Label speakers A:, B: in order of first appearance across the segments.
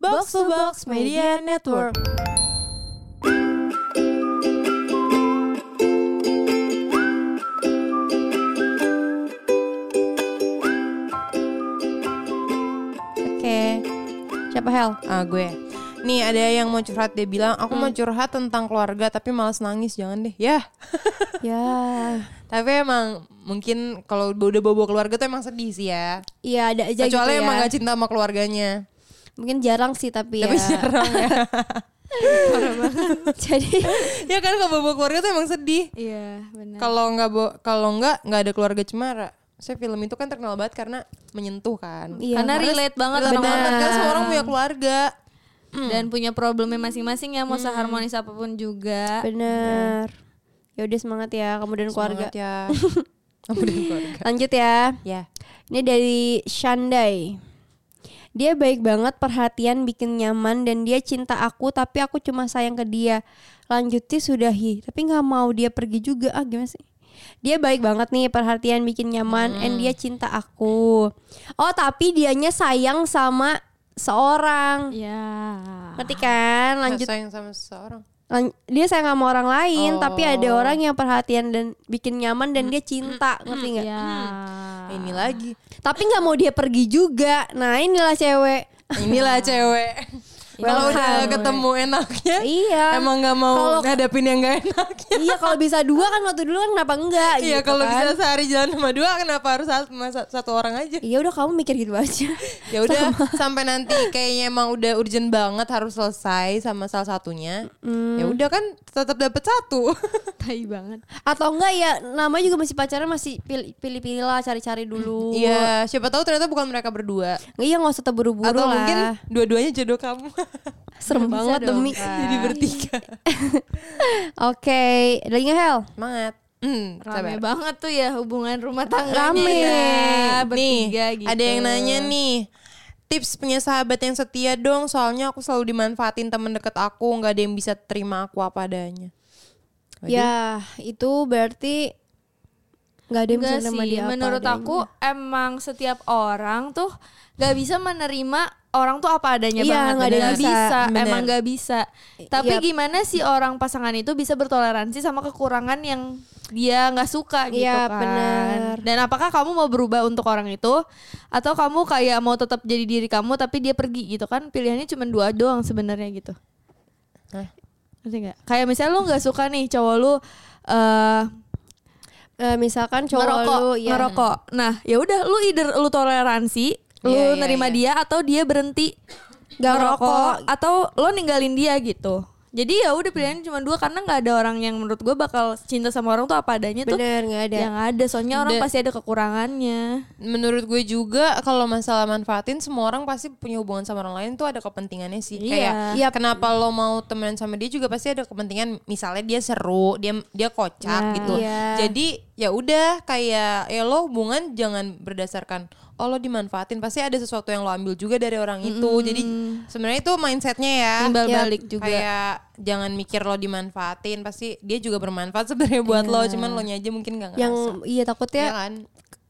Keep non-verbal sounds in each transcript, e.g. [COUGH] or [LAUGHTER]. A: Box to Box Media Network.
B: Oke. Siapa Hel?
A: Ah, gue. Nih ada yang mau curhat dia bilang aku mau curhat tentang keluarga tapi malas nangis jangan deh. [LAUGHS] Yah.
B: ya.
A: Tapi emang mungkin kalau udah bawa keluarga tuh emang sedih sih ya.
B: Iya ada aja
A: Kecuali
B: gitu ya.
A: emang gak cinta sama [LAUGHS] keluarganya.
B: Mungkin jarang sih tapi,
A: Tapi
B: ya.
A: jarang
B: [LAUGHS]
A: ya.
B: Jadi
A: ya kan kalau bawa keluarga tuh emang sedih.
B: Iya, benar.
A: Kalau nggak bo- kalau nggak nggak ada keluarga cemara. Saya film itu kan terkenal banget karena menyentuh kan.
B: Iya,
C: Karena relate banget
A: Relate
C: sama
A: banget
C: orang.
A: kan semua orang punya keluarga. Mm.
C: dan punya problemnya masing-masing ya mau seharmonis apapun juga.
B: Benar. Ya udah semangat ya kamu dan keluarga.
A: Semangat [LAUGHS] ya. Kamu dan keluarga.
B: Lanjut ya.
A: Ya.
B: Ini dari Shandai. Dia baik banget, perhatian bikin nyaman dan dia cinta aku tapi aku cuma sayang ke dia. Lanjuti sudahi, tapi nggak mau dia pergi juga. Ah gimana sih? Dia baik banget nih, perhatian bikin nyaman and dia cinta aku. Oh, tapi dianya sayang sama seorang.
C: Ya.
B: Ngerti kan? Lanjut
A: Lanjut. Sayang sama seseorang.
B: Lan- dia sayang sama orang lain
A: Oh.
B: tapi ada orang yang perhatian dan bikin nyaman dan dia cinta ngerti nggak
C: Ya.
A: Ini lagi.
B: tapi nggak mau dia pergi juga nah inilah cewek [LAUGHS]
A: Inilah cewek. Kalau
B: Welcome.
A: udah ketemu enaknya,
B: iya
A: emang nggak mau
B: Kalau-
A: ngadapin yang nggak enaknya.
B: iya kalau bisa dua kan waktu dulu kan kenapa enggak
A: Iya
B: gitu
A: kalau
B: kan.
A: bisa sehari jalan sama dua kenapa harus sama sa- satu orang aja?
B: iya udah kamu mikir gitu aja
A: Ya udah sampai nanti kayaknya emang udah urgent banget harus selesai sama salah satunya. Ya udah kan tetap dapat
B: [LAUGHS]
A: satu.
C: [LAUGHS] Tai banget.
B: atau enggak ya namanya juga masih pacaran masih pil- pilih-pilih lah cari-cari dulu
A: Iya, siapa tahu ternyata bukan mereka berdua.
B: iya nggak usah terburu-buru
A: Atau
B: lah
A: mungkin dua-duanya jodoh kamu. [LAUGHS]
B: serem banget
C: dong,
B: demi
C: Kak.
A: Iya. Jadi bertiga.
B: oke ada lagi nggak Hel
A: Semangat. Hmm,
C: Rame
A: sabar.
C: banget tuh ya hubungan rumah tangganya.
B: Rame.
A: nih,
C: ya, bertiga gitu.
A: ada yang nanya nih. Tips punya sahabat yang setia dong, soalnya aku selalu dimanfaatin temen deket aku, nggak ada yang bisa terima aku apa adanya. Waduh.
B: ya itu berarti nggak ada yang
C: Enggak
B: bisa sama
C: sih,
B: dia apa gitu.
C: menurut
B: adanya.
C: aku emang setiap orang tuh gak bisa menerima orang tuh apa adanya
B: Iya,
C: banget.
B: nggak ada yang
C: Nggak
B: bisa. iya.
A: Bener.
C: emang gak bisa. Tapi
B: Yap.
C: gimana sih orang pasangan itu bisa bertoleransi sama kekurangan yang dia nggak suka gitu
B: Iya,
C: kan?
B: bener.
C: Dan apakah kamu mau berubah untuk orang itu atau kamu kayak mau tetap jadi diri kamu tapi dia pergi gitu kan? Pilihannya cuma dua doang sebenarnya gitu.
A: Hah?
C: Ngerti nggak? Kayak misalnya lu nggak suka nih cowok lu eh
B: Eh, misalkan cowok
C: ngerokok,
B: lu
A: iya.
B: ya
C: ngerokok. Nah, ya udah lu either lu toleransi, lu
A: Iya, iya,
C: nerima
A: iya.
C: dia atau dia berhenti
B: Nggak ngerokok.
C: atau lo ninggalin dia gitu. Jadi ya udah pilihannya cuma dua karena nggak ada orang yang menurut gue bakal cinta sama orang tuh apa adanya tuh.
B: bener nggak ada
A: ya
C: Yang ada soalnya orang
A: Ada.
C: pasti ada kekurangannya.
A: Menurut gue juga kalau masalah manfaatin semua orang pasti punya hubungan sama orang lain tuh ada kepentingannya sih.
C: Iya.
A: Kayak
B: Iya.
A: kenapa lo mau temenan sama dia juga pasti ada kepentingan. Misalnya dia seru, dia dia kocak
C: Nah.
A: gitu.
B: Iya.
A: Jadi ya udah kayak ya lo hubungan jangan berdasarkan oh lo dimanfaatin pasti ada sesuatu yang lo ambil juga dari orang itu. Jadi sebenarnya itu mindsetnya ya.
C: Timbal
B: Yap.
C: balik juga.
A: Kayak jangan mikir lo dimanfaatin pasti dia juga bermanfaat sebenarnya buat
C: Iya.
A: lo cuman lo nya aja mungkin nggak ngerasa.
B: yang iya takutnya
A: Iya kan?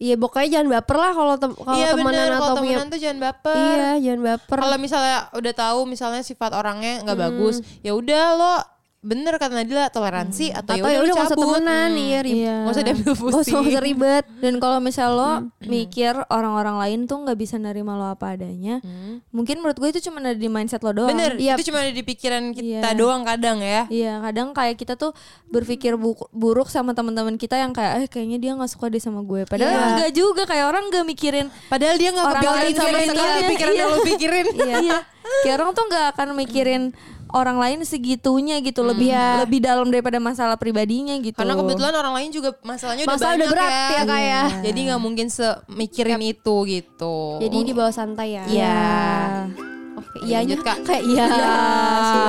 B: iya pokoknya jangan baper lah kalau tem kalau
A: Iya
B: temenan
A: bener,
B: atau
A: kalau
B: punya
A: temenan tuh jangan baper.
B: iya jangan baper
A: Kalau misalnya udah tahu misalnya sifat orangnya
B: Hmm.
A: nggak bagus, ya udah lo bener kata Nadila toleransi atau,
B: atau
A: ya
B: ya udah nggak
A: cabut. Hmm.
B: usah temenan iya ribet
C: Iya.
A: Nggak usah diambil
B: nggak usah
A: pusing.
B: nggak usah ribet
C: Dan kalau misal lo mikir orang-orang lain tuh nggak bisa nerima lo apa adanya, mungkin menurut gue itu cuma ada di mindset lo doang.
A: bener,
B: Iya.
A: itu cuma ada di pikiran kita
C: Iya.
A: doang kadang ya.
C: Iya, kadang kayak kita tuh berpikir bu- buruk sama teman-teman kita yang kayak eh kayaknya dia nggak suka deh sama gue.
B: Iya.
C: Padahal enggak juga kayak orang nggak mikirin.
A: Padahal dia nggak
C: Orang
A: kepikiran
C: lain
A: sama
C: mikirin
A: sekali
C: iya.
A: pikiran yang lo pikirin.
C: iya. Kayak orang tuh nggak akan mikirin orang lain segitunya gitu, lebih
B: Iya.
C: lebih dalam daripada masalah pribadinya gitu.
A: Karena kebetulan orang lain juga masalahnya udah
B: Masalah udah
A: banyak Iya.
B: berat ya, Iya. Kak, ya.
A: Jadi nggak mungkin semikirin itu gitu.
B: jadi di bawah santai ya
A: Iya.
B: oke
A: Lanjut,
B: iya
A: Kak.
B: kayak iya
C: Iya.
B: Iya.